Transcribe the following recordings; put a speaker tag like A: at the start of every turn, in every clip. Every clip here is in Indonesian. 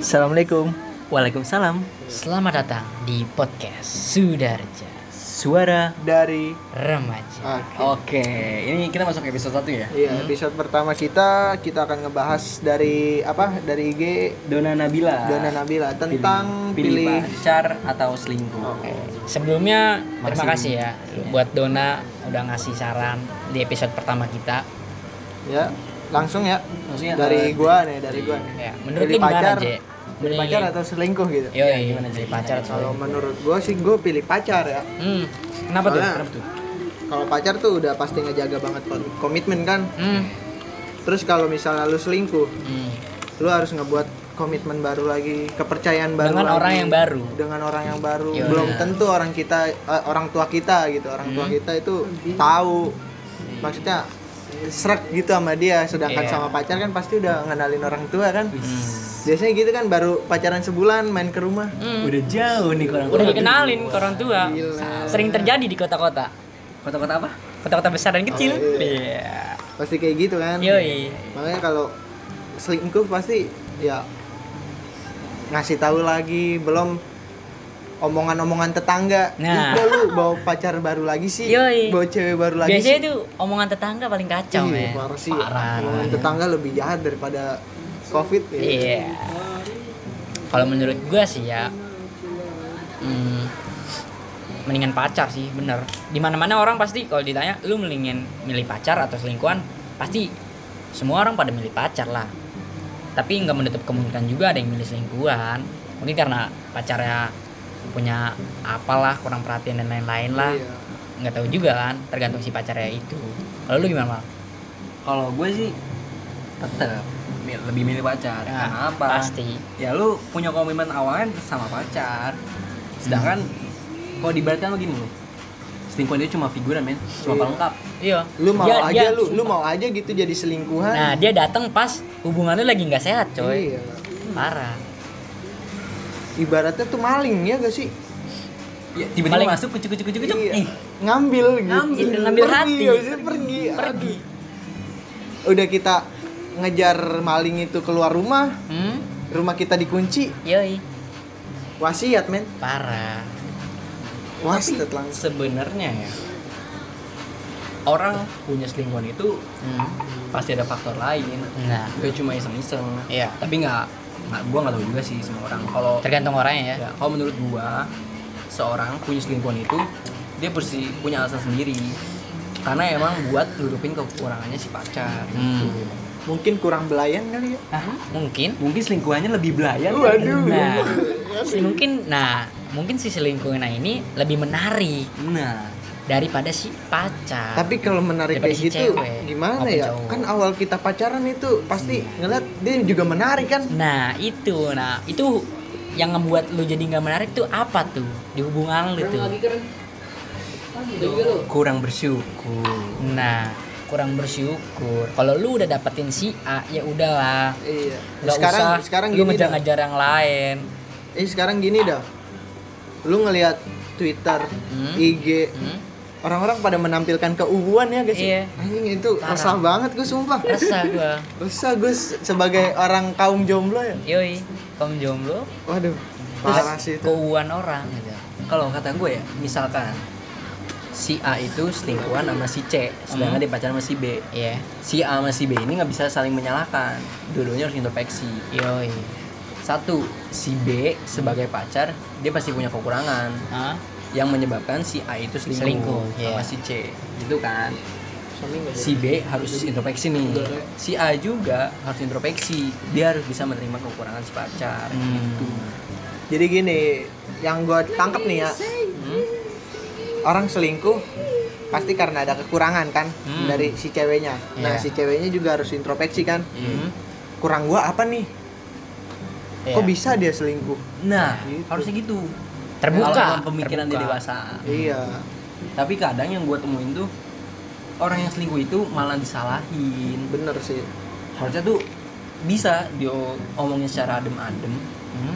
A: Assalamualaikum.
B: Waalaikumsalam.
C: Selamat datang di podcast Sudarja
B: Suara
A: Dari
C: Remaja.
B: Oke, ini kita masuk episode 1 ya.
A: iya, episode pertama kita kita akan ngebahas dari apa? Dari IG
B: Dona Nabila.
A: Dona
C: Nah,
A: Nabila tentang pilih,
B: pacar atau selingkuh.
A: Oke.
C: Sebelumnya terima
B: Makasih.
C: kasih ya
A: Iya.
C: buat Dona udah ngasih saran di episode pertama kita.
A: ya. Langsung ya.
B: Maksudnya, eh,
A: dari gua nih, dari gua nih.
C: Ya, menurut
A: Pilih
C: lu gimana,
A: pacar,
C: Je?
A: Pilih
C: Menilai-
A: pacar atau selingkuh gitu.
C: Yo,
B: Ya, gimana,
C: jadi
B: jadi
C: pacar
A: Kalau
C: atau
A: menurut gua sih gua pilih pacar ya.
C: Hmm, kenapa tuh?
A: Soalnya-
C: tuh?
A: Kalau pacar tuh udah pasti ngejaga banget kon- komitmen kan.
C: Hmm,
A: Terus kalau misalnya lu selingkuh,
C: hmm.
A: lu harus ngebuat komitmen baru lagi, kepercayaan baru
C: Dengan
A: lagi.
C: orang yang baru.
A: dengan orang yang baru
C: Iya. Hmm.
A: belum tentu orang kita eh, orang tua kita gitu orang tua kita itu tahu maksudnya serak gitu sama dia sedangkan
C: Iya.
A: sama pacar kan pasti udah ngenalin orang tua kan biasanya gitu kan baru pacaran sebulan main ke rumah
C: Hmm.
B: Udah jauh nih kurang
C: Udah dikenalin ke orang tua. Sering terjadi di kota-kota.
B: Kota-kota apa?
C: Kota-kota besar dan kecil.
A: Oh,
C: Iya.
A: pasti kayak gitu kan
C: Yoi.
A: makanya kalau selingkuh pasti ya ngasih tahu lagi belum omongan-omongan tetangga
C: Nah.
A: nah. lu bawa pacar baru lagi sih
C: Yoi.
A: bawa cewek baru lagi sih?"
C: Biasanya itu omongan tetangga paling kacau,
A: Iya,
C: men.
A: parah sih.
C: Parah.
A: Omongan tetangga lebih jahat daripada covid ya.
C: Iya. Kalau menurut gua sih ya, hmm, mendingan pacar sih, bener. Di mana mana orang pasti kalau ditanya, lu mendingin milih pacar atau selingkuhan, pasti semua orang pada milih pacar lah. Tapi nggak menutup kemungkinan juga ada yang milih selingkuhan. Mungkin karena pacarnya punya apalah kurang perhatian dan lain-lain lah.
A: Iya.
C: Nggak tahu juga kan, tergantung si pacarnya itu. Kalau lu gimana, Mal?
B: Kalau gue sih tetap mi- lebih milih pacar.
C: Ya,
B: Karena apa?
C: Pasti.
B: Ya lu punya komitmen awalnya sama pacar. Sedangkan kalau diibaratkan begini loh. Selingkuhan itu cuma figuran, men. Cuma
A: Iya.
B: pelengkap.
C: Iya.
A: Lu mau
C: Dia-
A: aja
C: dia-
A: lu, lu mau aja gitu jadi selingkuhan.
C: Nah, dia datang pas hubungan lu lagi nggak sehat, coy.
A: Iya.
C: Parah.
A: Ibaratnya tuh maling ya gak sih?
B: Ya, tiba-tiba
C: Paling-
B: masuk kucuk kucuk kucuk kucuk.
A: Iya.
B: Ih,
A: Ngambil gitu.
C: Ngambil, ngambil
A: pergi,
C: hati.
A: habis itu pergi.
C: Pergi.
A: Aduh. Udah kita ngejar maling itu keluar rumah,
C: Hmm?
A: rumah kita dikunci,
C: Yoi.
A: wasiat men.
C: Parah.
A: Wasiat langsung.
B: sebenarnya ya orang punya selingkuhan itu
C: Hmm.
B: pasti ada faktor lain
C: Nah,
B: gue cuma iseng-iseng
C: Iya.
B: tapi nggak nggak gue nggak tahu juga sih semua orang kalau
C: tergantung orangnya ya.
A: Iya.
B: ya kalau menurut gue seorang punya selingkuhan itu dia pasti punya alasan sendiri karena emang buat nutupin kekurangannya si pacar
C: Hmm.
B: gitu.
A: Mungkin kurang belayan kali ya.
C: Nah, mungkin.
B: mungkin selingkuhannya lebih belayan
C: Nah,
A: Iya
C: si mungkin nah, mungkin si selingkuhan ini lebih menarik
B: nah
C: daripada si pacar.
A: Tapi kalau menarik
C: Daripada
A: kayak
C: si
A: gitu
C: cewek
A: gimana
C: maupun
A: ya?
C: cowok.
A: Kan awal kita pacaran itu pasti ngeliat dia juga menarik kan.
C: Nah, itu. Nah, itu yang membuat lu jadi nggak menarik tuh apa tuh di hubungan lu tuh?
B: kurang bersyukur
C: Nah, kurang bersyukur. Kalau lu udah dapetin si A, ya udahlah.
A: Iya.
C: Nggak
A: sekarang
C: usah
A: sekarang
C: lu
A: gini dah.
C: ngejar-ngejar yang lain.
A: Eh sekarang gini dah. Lu ngelihat Twitter,
C: Hmm.
A: IG,
C: Hmm?
A: orang-orang pada menampilkan keuuan ya guys.
C: Iya.
A: Anjing itu
C: Parah.
A: resah banget gue sumpah.
C: Resah gua.
A: Resah gue se- sebagai orang kaum jomblo ya.
C: Yoi, kaum jomblo
A: Waduh. Parah
C: terus
A: sih itu.
C: keuangan orang gitu.
B: kalau kata gue ya misalkan si A itu selingkuhan sama si C sedangkan
C: Hmm.
B: dia pacaran sama si B
C: Iya.
B: si A sama si B ini nggak bisa saling menyalahkan dua-duanya harus introspeksi
C: Yoi.
B: satu si B sebagai pacar dia pasti punya kekurangan
C: Hah?
B: yang menyebabkan si A itu selingkuh,
C: Selingkuh,
B: sama
C: iya.
B: si C gitu kan si B harus introspeksi nih si A juga harus introspeksi dia harus bisa menerima kekurangan si pacar
C: Hmm,
B: gitu
A: Jadi gini, yang gue tangkep nih ya.
C: Hmm.
A: Orang selingkuh pasti karena ada kekurangan kan
C: Hmm.
A: dari si ceweknya.
C: Iya.
A: Nah, si ceweknya juga harus introspeksi kan.
B: Hmm.
A: Kurang gua apa nih?
C: Iya.
A: Kok bisa dia selingkuh?
B: nah
A: Gitu.
B: harusnya gitu
C: Terbuka.
B: Kalau dalam pemikiran dia
C: Terbuka.
B: dewasa
A: Iya.
B: tapi kadang yang gue temuin tuh orang yang selingkuh itu malah disalahin
A: Bener sih.
B: harusnya tuh bisa dia omongin secara adem-adem
C: Hmm?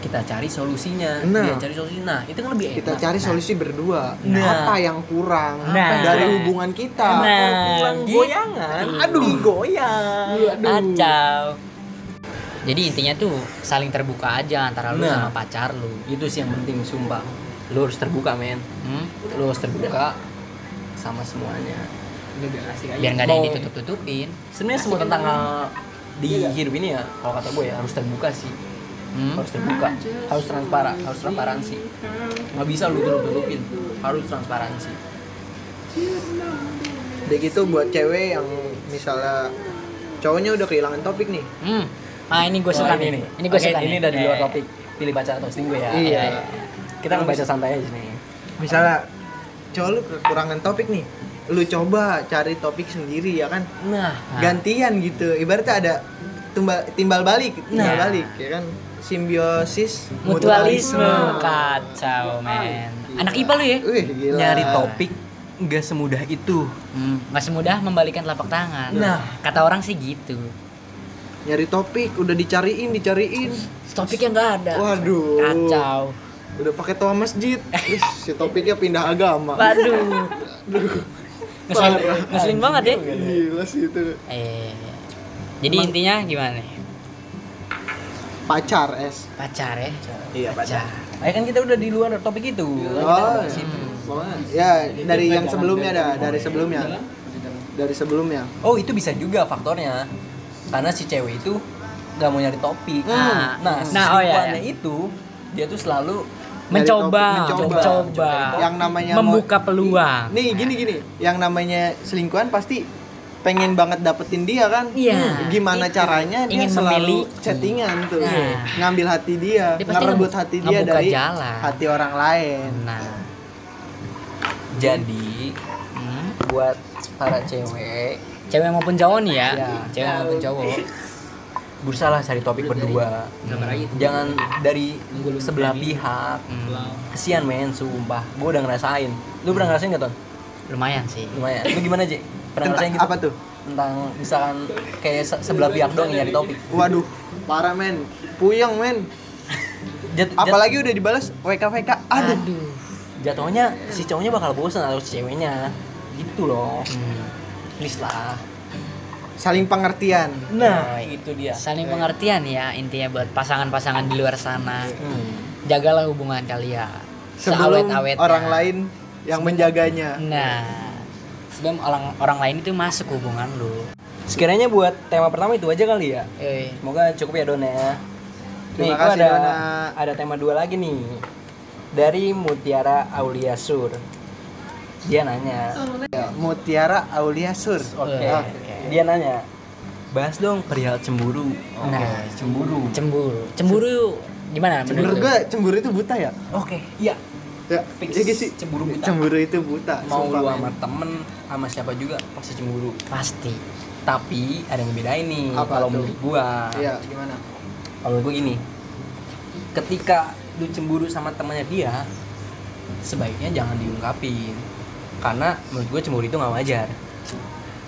B: kita cari solusinya
A: Nah.
B: dia cari solusinya nah itu kan lebih enak
A: Kita cari solusi berdua.
B: Nah.
A: Apa yang kurang
C: Nah.
A: dari hubungan
C: Nah,
A: kita? Kalau kurang
C: gitu.
A: goyangan. Aduh, goyang.
C: Kacau. jadi intinya tuh saling terbuka aja antara lu
B: Nah.
C: sama pacar lu
B: itu sih yang penting sumpah lu harus terbuka men
C: Hmm?
B: lu harus terbuka sama semuanya
C: biar nggak ada yang
B: iya. Mau-
C: ditutup tutupin
B: sebenarnya semua tentang hal di hidup ini ya kalau kata gue ya harus terbuka sih
C: Hmm?
B: harus terbuka harus transparan harus transparansi nggak bisa lu tutup tutupin harus transparansi
A: Udah gitu buat cewek yang misalnya cowoknya udah kehilangan topik nih.
C: Hmm. ah ini gue
B: Wah,
C: suka nih ini gue
B: Oke,
C: suka
B: Oh, ini
C: nih.
B: dari luar
C: Eh,
B: topik pilih pacar atau selingkuh ya
A: Iya.
B: kita ngebaca santai aja nih
A: Misalnya cowok lu kekurangan topik nih. Lu coba cari topik sendiri ya kan.
B: nah
A: Gantian gitu. Ibaratnya ada tumbal, timbal balik,
C: Nah.
A: timbal balik ya kan. Simbiosis
C: mutualisme kan. kacau men anak ipa lu ya
A: Wih, gila.
B: nyari topik nggak semudah itu
C: Hmm, nggak semudah membalikan telapak tangan.
B: Nah.
C: kata orang sih gitu.
A: Nyari topik udah dicariin, dicariin.
C: Topiknya nggak ada.
A: Waduh.
C: Kacau.
A: Udah pakai toa masjid. Ih, si topiknya pindah agama.
C: Waduh. Ngeselin, ngeselin banget ya.
A: Gila sih itu.
C: Eh, jadi intinya gimana? nih?
A: Pacar es.
C: Pacar ya.
A: Iya,
C: Pacar.
B: Ayo kan kita udah di luar topik itu. iya.
A: Oh, ya dari yang sebelumnya ada, dari sebelumnya. Dari sebelumnya.
B: Oh itu bisa juga faktornya karena si cewek itu nggak mau nyari topik.
C: Hmm.
B: Nah,
C: Nah,
B: nah
C: oh iya, iya.
B: itu dia tuh selalu
C: Mencoba,
A: Dari topik,
C: mencoba,
A: mencoba. Yang namanya
C: membuka peluang.
A: Nih gini gini, yang namanya selingkuhan pasti pengen banget dapetin dia kan.
C: Iya.
A: Gimana
C: Itu.
A: caranya dia
C: Ingin
A: selalu
C: memiliki.
A: chattingan tuh.
C: Nah.
A: Ngambil hati dia,
C: Dia pasti
A: ngerebut
C: ngebu-
A: hati dia
C: ngebuka
A: dari
C: jalan.
A: hati orang lain.
C: Nah,
B: Jadi
C: hmm.
B: buat para cewek
C: cewek maupun cowok nih ya.
B: Iya.
C: Cewek maupun cowok.
B: berusahalah cari topik berdua. Hmm. Jangan dari sebelah pihak.
C: Hmm,
B: Kesian men, sumpah. Gue udah ngerasain. Lu pernah ngerasain gak ton?
C: lumayan sih.
B: Lumayan. Lu gimana Ji? Pernah
A: Tentang
B: ngerasain gitu?
A: apa tuh?
B: Tentang misalkan kayak se- sebelah pihak doang yang nyari topik.
A: Waduh, parah men. Puyeng men.
B: Jat- jat-
A: Apalagi udah dibalas WK WK. Aduh.
B: jatuhnya si cowoknya bakal bosan atau si ceweknya gitu loh
C: Hmm.
B: please lah
A: Saling pengertian.
B: nah
C: Yoi.
B: itu dia
C: Saling pengertian ya intinya buat pasangan-pasangan di luar sana.
B: Hmm.
C: Jagalah hubungan kalian.
A: Sebelum
C: Seawet-awetnya.
B: ya.
A: orang lain yang menjaganya.
C: Nah, sebelum orang orang lain itu masuk hubungan lu.
B: sekiranya buat tema pertama itu aja kali ya
C: Eh,
B: semoga cukup ya Dona ya gua
A: Terima kasih,
B: ada,
A: Dona.
B: ada tema dua lagi nih dari Mutiara Aulia Sur dia nanya
A: Ya, Mutiara Aulia Sur. Ah.
B: oke
C: Oke.
B: dia nanya bahas dong perihal cemburu
C: Nah.
B: cemburu
C: cemburu. Cemburu gimana
A: Menurut
C: menurut lu?
A: gua cemburu itu buta ya.
B: oke iya
A: Ya,
B: Fix,
A: iya gak sih?
B: cemburu buta.
A: Cemburu itu buta.
B: mau lu
A: sumpah, men.
B: sama temen sama siapa juga pasti cemburu
C: Pasti.
B: tapi ada yang ngebedain nih
A: Apa
B: kalau
A: tuh?
B: menurut gua
A: Iya, gimana?
B: kalau menurut gua gini ketika lu cemburu sama temannya dia sebaiknya jangan diungkapin karena menurut gua cemburu itu nggak wajar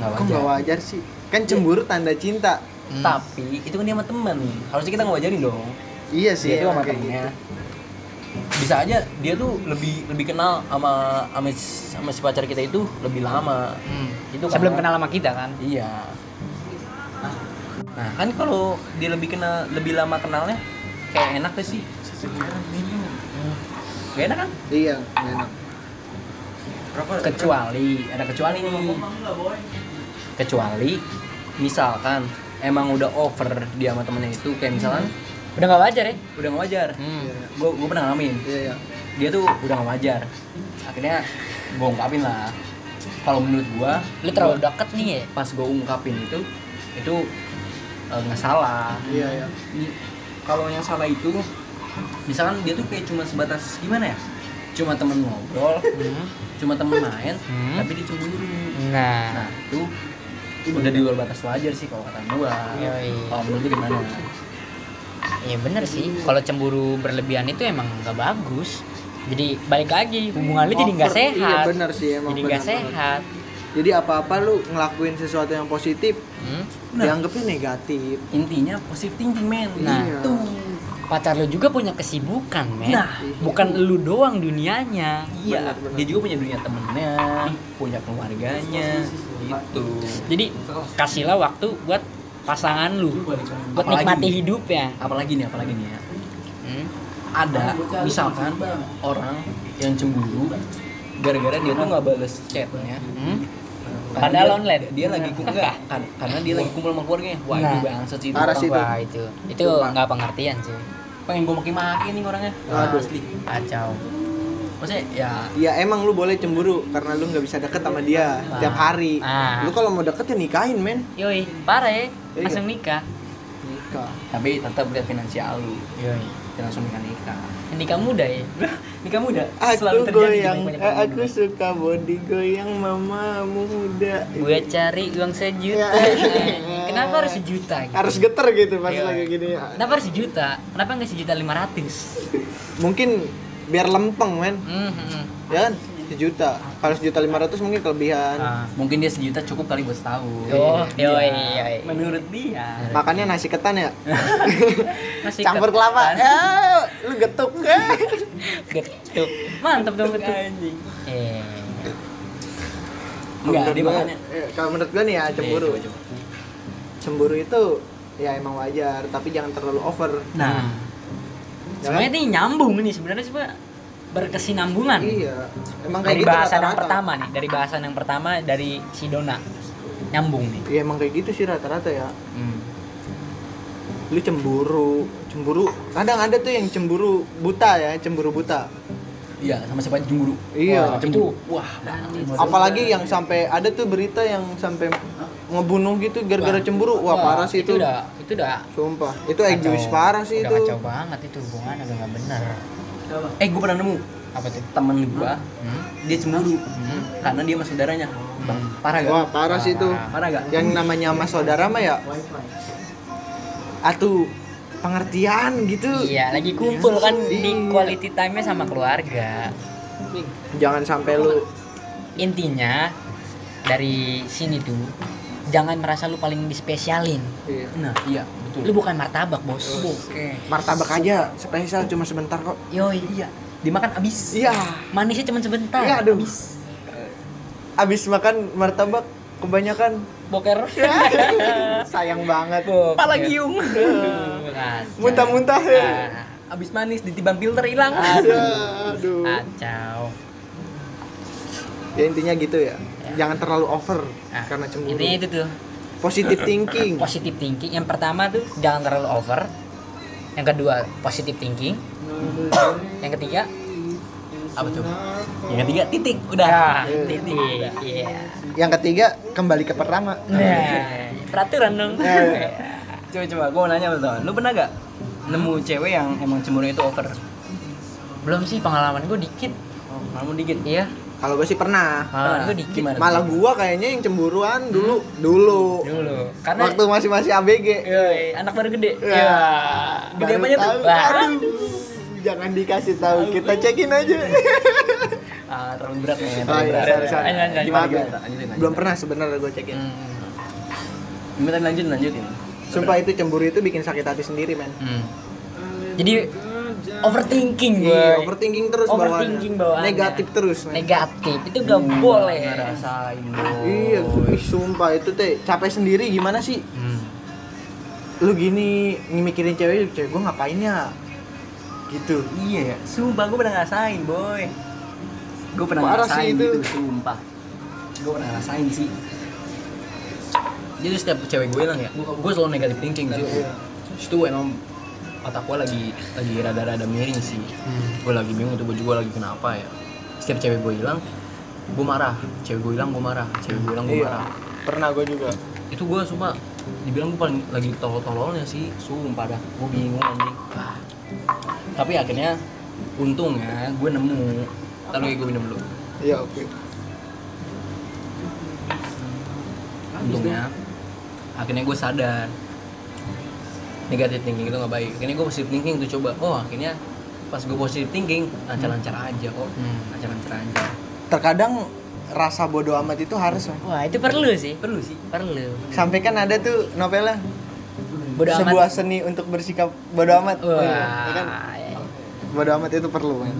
B: nggak
A: Kok
B: wajar
A: gak wajar Hmm. sih? Kan cemburu tanda cinta.
B: tapi itu kan dia sama temen harusnya kita ngewajarin dong
A: Iya sih.
B: dia tuh
A: emang
B: sama
A: kayak gitu.
B: temennya bisa aja dia tuh lebih lebih kenal sama sama si- sama si pacar kita itu lebih lama
C: Hmm.
B: Itu
C: sebelum
B: karena-
C: kenal sama kita kan.
B: Iya. Nah, kan kalau dia lebih kenal lebih lama kenalnya kayak enak tuh sih. Gak enak kan?
A: gitu. Iya, gak enak.
B: Kecuali ada kecuali nih. Kecuali misalkan emang udah over dia sama temennya itu kayak misalkan
C: Udah nggak wajar ya?
B: udah nggak wajar.
C: Hmm.
A: Iya,
B: Gue gue pernah ngalamin.
A: Iya, iya.
B: Dia tuh udah nggak wajar. Akhirnya gue ungkapin lah. Kalau menurut gua,
C: Lu terlalu deket nih ya.
B: pas gue ungkapin itu itu eh, nggak salah
A: Iya, iya.
B: Ini- kalau yang salah itu misalkan dia tuh kayak cuma sebatas gimana ya cuma temen ngobrol
A: Hmm.
B: cuma temen main
C: Hmm.
B: tapi dia cemburu nah
C: Nah,
B: itu
A: Iya.
B: udah di luar batas wajar sih kalau kata gua
C: Yoi.
B: kalau menurut lu gimana
C: ya bener sih. Kalau cemburu berlebihan itu emang nggak bagus. Jadi balik lagi hubungan lu jadi nggak
A: Over,
C: sehat.
A: Iya, benar sih emang.
C: jadi nggak
A: benar banget.
C: sehat.
A: Jadi apa-apa lu ngelakuin sesuatu yang positif
C: Hmm.
B: Nah.
A: dianggapnya negatif.
B: intinya positive thinking men
A: Iya.
B: Gitu.
C: Nah.
B: itu
C: Pacar lu juga punya kesibukan, men.
B: Nah.
C: bukan lu doang dunianya.
B: iya
A: Benar, benar.
B: dia juga punya dunia temennya
A: Iya,
B: punya keluarganya gitu
C: Jadi kasihlah waktu buat pasangan lu buat
B: Apalagi
C: nikmati
B: nih?
C: hidupnya
B: apalagi nih apalagi nih ya
C: Hmm.
B: ada misalkan orang yang cemburu gara-gara dia tuh nggak bales chatnya
C: Hmm.
B: Karena
C: Padahal
B: dia-
C: online.
B: dia lagi kumpul enggak kan- karena dia lagi kumpul sama keluarganya wah ini
C: Nah.
B: bangsat sih itu
A: Parah
B: orang.
A: sih. Itu.
C: Wah, itu itu nggak pengertian sih
B: pengen gue maki-maki nih orangnya
A: Aduh.
B: asli
C: kacau
B: maksudnya ya
A: Ya emang lu boleh cemburu karena lu nggak bisa deket sama dia
C: Ah.
A: tiap hari.
C: Ah.
A: Lu kalau mau deket ya nikahin men.
C: yoi parah ya
A: Iya.
C: langsung nikah
A: Nikah.
B: tapi tetap lihat finansial lu
C: yoi
B: jangan langsung nikah nikah
C: nikah muda ya nikah muda selalu
A: Aku
C: terjadi
B: gitu,
C: di
A: goyang,
C: banyak-banyak
A: eh,
C: orang
A: aku
C: muda.
A: suka body goyang mamamu muda.
C: gue cari uang sejuta kenapa harus sejuta gitu?
A: Harus geter gitu pas
C: Iya.
A: lagi gini.
C: kenapa harus sejuta kenapa nggak sejuta lima ratus
A: Mungkin biar lempeng men,
C: Hmm, hmm, hmm.
A: ya kan? Sejuta. Kalau sejuta lima ratus mungkin kelebihan.
C: Ah.
B: mungkin dia sejuta cukup kali buat setahun
C: Oh,
B: Iya.
C: yoi, yoi.
B: menurut dia
A: Makannya nasi ketan ya,
C: Masih
A: campur
C: ketan.
A: kelapa. Eh, lu getuk.
C: Getuk. Mantap dong getuk. Eh.
B: enggak
A: Menurut
B: Iya, dia
A: gua-
B: makanya
A: eh, Kalau menurut gue nih ya cemburu.
B: Iya, coba, coba.
A: Cemburu itu ya emang wajar, tapi jangan terlalu over.
B: nah
C: Sebenarnya ini nyambung nih sebenarnya cuma berkesinambungan.
A: Iya, emang kayak
C: Dari
A: gitu
C: bahasan yang
A: rata-rata.
C: pertama nih, dari bahasan yang pertama dari si Dona. Nyambung nih.
A: Iya emang kayak gitu sih rata-rata ya.
C: Hmm.
A: Lu cemburu, cemburu. Kadang ada tuh yang cemburu buta ya, cemburu buta.
B: iya sama siapa aja cemburu
A: Iya.
B: Wah, cemburu wah banget.
A: Apalagi yang sampai ada tuh berita yang sampai ngebunuh gitu
B: Wah.
A: gara-gara cemburu. Wah, parah sih itu.
C: udah itu udah
A: Sumpah, itu
C: kacau.
A: egois parah sih
C: udah
A: itu.
C: kacau banget itu hubungan agak nggak benar.
B: eh gue pernah nemu
C: Apa tuh?
B: temen gua
C: Hmm?
B: dia cemburu
C: Hmm.
B: karena dia sama saudaranya bang parah gak
A: Hmm. Wah, Ya. parah sih itu.
B: parah gak
A: Yang namanya sama saudara mah ya atuh pengertian gitu.
C: Iya, lagi kumpul kan di
A: Iya.
C: quality time-nya sama keluarga.
A: Jangan sampai lu
C: Intinya dari sini tuh jangan merasa lu paling dispesialin.
A: iya.
B: nah iya betul
C: Lu bukan martabak, Bos.
B: oke
A: martabak aja spesial cuma sebentar kok.
C: Yoi.
B: iya dimakan abis
A: Iya.
C: Manisnya cuma sebentar.
A: Iya, aduh. Abis makan martabak kebanyakan
C: Boker.
A: Iya, sayang banget
B: pala giung
A: Muntah-muntah.
C: Ah,
B: abis manis ditibang filter hilang
A: Ya, aduh
C: Kacau.
A: ya intinya gitu ya jangan terlalu over
C: Ah,
A: karena cemburu
C: Intinya itu tuh
A: positive thinking
C: positive thinking. Yang pertama tuh jangan terlalu over. Yang kedua positive thinking. yang ketiga
A: Nah.
B: apa tuh yang ketiga titik
A: Ya.
B: udah
C: udah titik. Iya.
A: yang ketiga kembali ke pertama
C: Nah, peraturan dong.
A: Iya.
B: coba coba gue mau nanya betul lu pernah gak nemu cewek yang emang cemburu itu over
A: Oh.
C: Belum sih pengalaman gue dikit.
B: malu dikit
C: Iya,
A: kalau gue sih pernah
C: pengalaman
B: Nah,
C: gue dikit.
B: gimana?
A: malah Ah. gua kayaknya yang cemburuan dulu dulu
C: Dulu. Karena
A: waktu masih masih abg
B: Eh,
C: Yoi, anak baru gede.
A: Ya,
C: Gede
A: baru
C: apanya tuh?
A: tahu.
C: Wah.
A: Aduh, jangan dikasih tahu kita cekin aja
B: ah, terlalu berat nih
A: Oh,
B: terlalu
A: iya,
B: berat
A: sorry, sorry.
C: Lanjut, lanjut, lanjut.
A: Maaf
B: Lanjutin,
A: ya.
B: lanjutin, lanjutin.
A: belum pernah sebenarnya gue cekin
C: Hmm.
B: Gimana lanjut lanjutin
A: sumpah itu cemburu itu bikin sakit hati sendiri men
C: Hmm. Jadi overthinking gue.
A: Iya, overthinking terus
C: Overthinking bawaannya.
A: Negatif terus, men.
C: Negatif itu gak
B: Iya,
C: boleh.
B: ngerasain
A: Iya, ih, sumpah itu teh capek sendiri gimana sih?
C: Hmm.
A: Lu gini mikirin cewek, cewek gua ngapain ya? Gitu.
B: Iya ya, sumpah gue pernah ngerasain boy Gue pernah
A: Parah
B: ngerasain
A: sih itu.
B: gitu, sumpah Gue pernah ngerasain sih Jadi setiap cewek gue hilang ya, gue selalu negatif thinking sih
A: Iya.
B: Terus itu emang otak gue lagi lagi rada-rada miring sih
C: Hmm.
B: Gue lagi bingung tuh gue juga lagi kenapa ya Setiap cewek gue hilang, gue marah Cewek gue hilang, gue marah Cewek gue hilang, gue
A: Iya.
B: marah
A: Pernah gua juga.
B: itu gue cuma dibilang gue paling lagi tolol-tololnya sih sumpah dah gue bingung anjing tapi akhirnya untungnya gue nemu lalu gue minum dulu
A: Iya, oke.
B: untungnya akhirnya gue sadar negatif thinking itu nggak baik akhirnya gue positive thinking tuh coba oh akhirnya pas gue positive thinking lancar-lancar aja kok
C: Hmm.
B: lancar-lancar aja
A: Terkadang rasa bodoh amat itu harus, men.
C: Wah itu perlu sih.
B: perlu sih
C: Perlu.
A: Sampai kan ada tuh novelnya
C: Bodo amat.
A: sebuah seni untuk bersikap bodoh amat. iya,
C: Wah. iya,
A: Oh, iya. Ya kan? Bodoh amat itu perlu, men.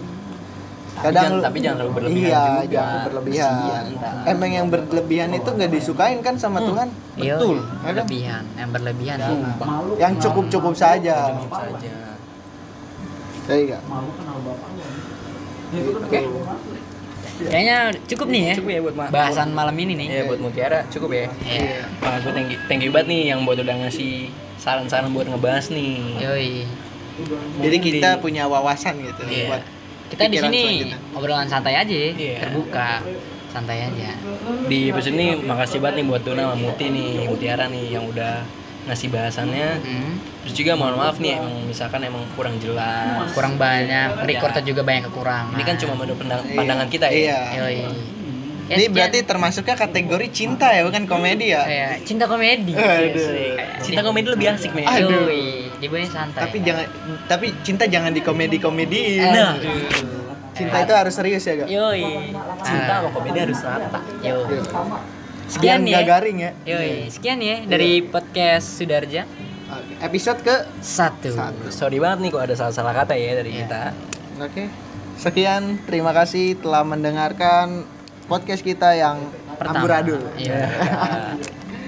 A: kadang
B: jangan-
A: lu-
B: tapi jangan terlalu berlebihan
A: iya,
B: juga.
A: jangan berlebihan
B: Kasihan, Hmm. ntar.
A: emang yang berlebihan itu nggak disukain kan sama Tuhan
C: Iya,
A: betul ya kan?
C: berlebihan, yang berlebihan.
B: Sumpah.
A: yang cukup cukup saja
B: Cukup saja.
A: ya iya
B: Oke.
C: Kayaknya cukup nih ya.
B: Cukup ya buat ma-
C: Bahasan malam ini nih.
B: Ya
A: Iya,
B: buat Mutiara cukup ya.
C: Iya.
B: Wah, gue thank you, thank you banget nih yang buat udah ngasih saran-saran buat ngebahas nih.
C: Yoi.
A: jadi
B: Mungkin
A: kita
B: di-
A: punya wawasan gitu
B: Iya.
A: buat
C: Kita di
A: pikiran
C: sini
A: selanjutnya.
C: obrolan santai aja,
B: Iya.
C: terbuka. Santai aja.
B: di episode ini makasih banget nih buat Dona sama Muti nih Mutiara nih yang udah ngasih bahasannya
C: Hmm.
B: terus juga mohon maaf nih emang misalkan emang kurang jelas
C: Kurang banyak, recordnya juga banyak kekurangan.
B: ini kan cuma menurut pendang-
A: Iya.
B: pandangan kita ya
A: Iya.
C: Yoi. Ya,
A: ini
C: sekian.
A: berarti termasuknya kategori cinta ya bukan komedi ya
C: Iya, cinta komedi. Iya
A: Aduh.
B: cinta komedi lebih asik men
A: Aduh.
C: Yoi, dibuatnya santai.
A: tapi jangan tapi cinta jangan di komedi komedi
B: nah
A: cinta itu harus serius ya gak
C: Yoi.
B: cinta
C: Ah.
B: sama komedi harus rata
C: Yoi.
A: biar
C: Sekian ya.
A: nggak garing ya
C: Yoi, sekian ya dari podcast Sudarja.
A: Oke, episode ke
C: Satu.
A: Satu.
B: sorry banget nih kok ada salah-salah kata ya dari
C: Iya.
B: kita
A: Oke. Sekian, terima kasih telah mendengarkan podcast kita yang
C: Pertama.
A: amburadul.
C: Iya.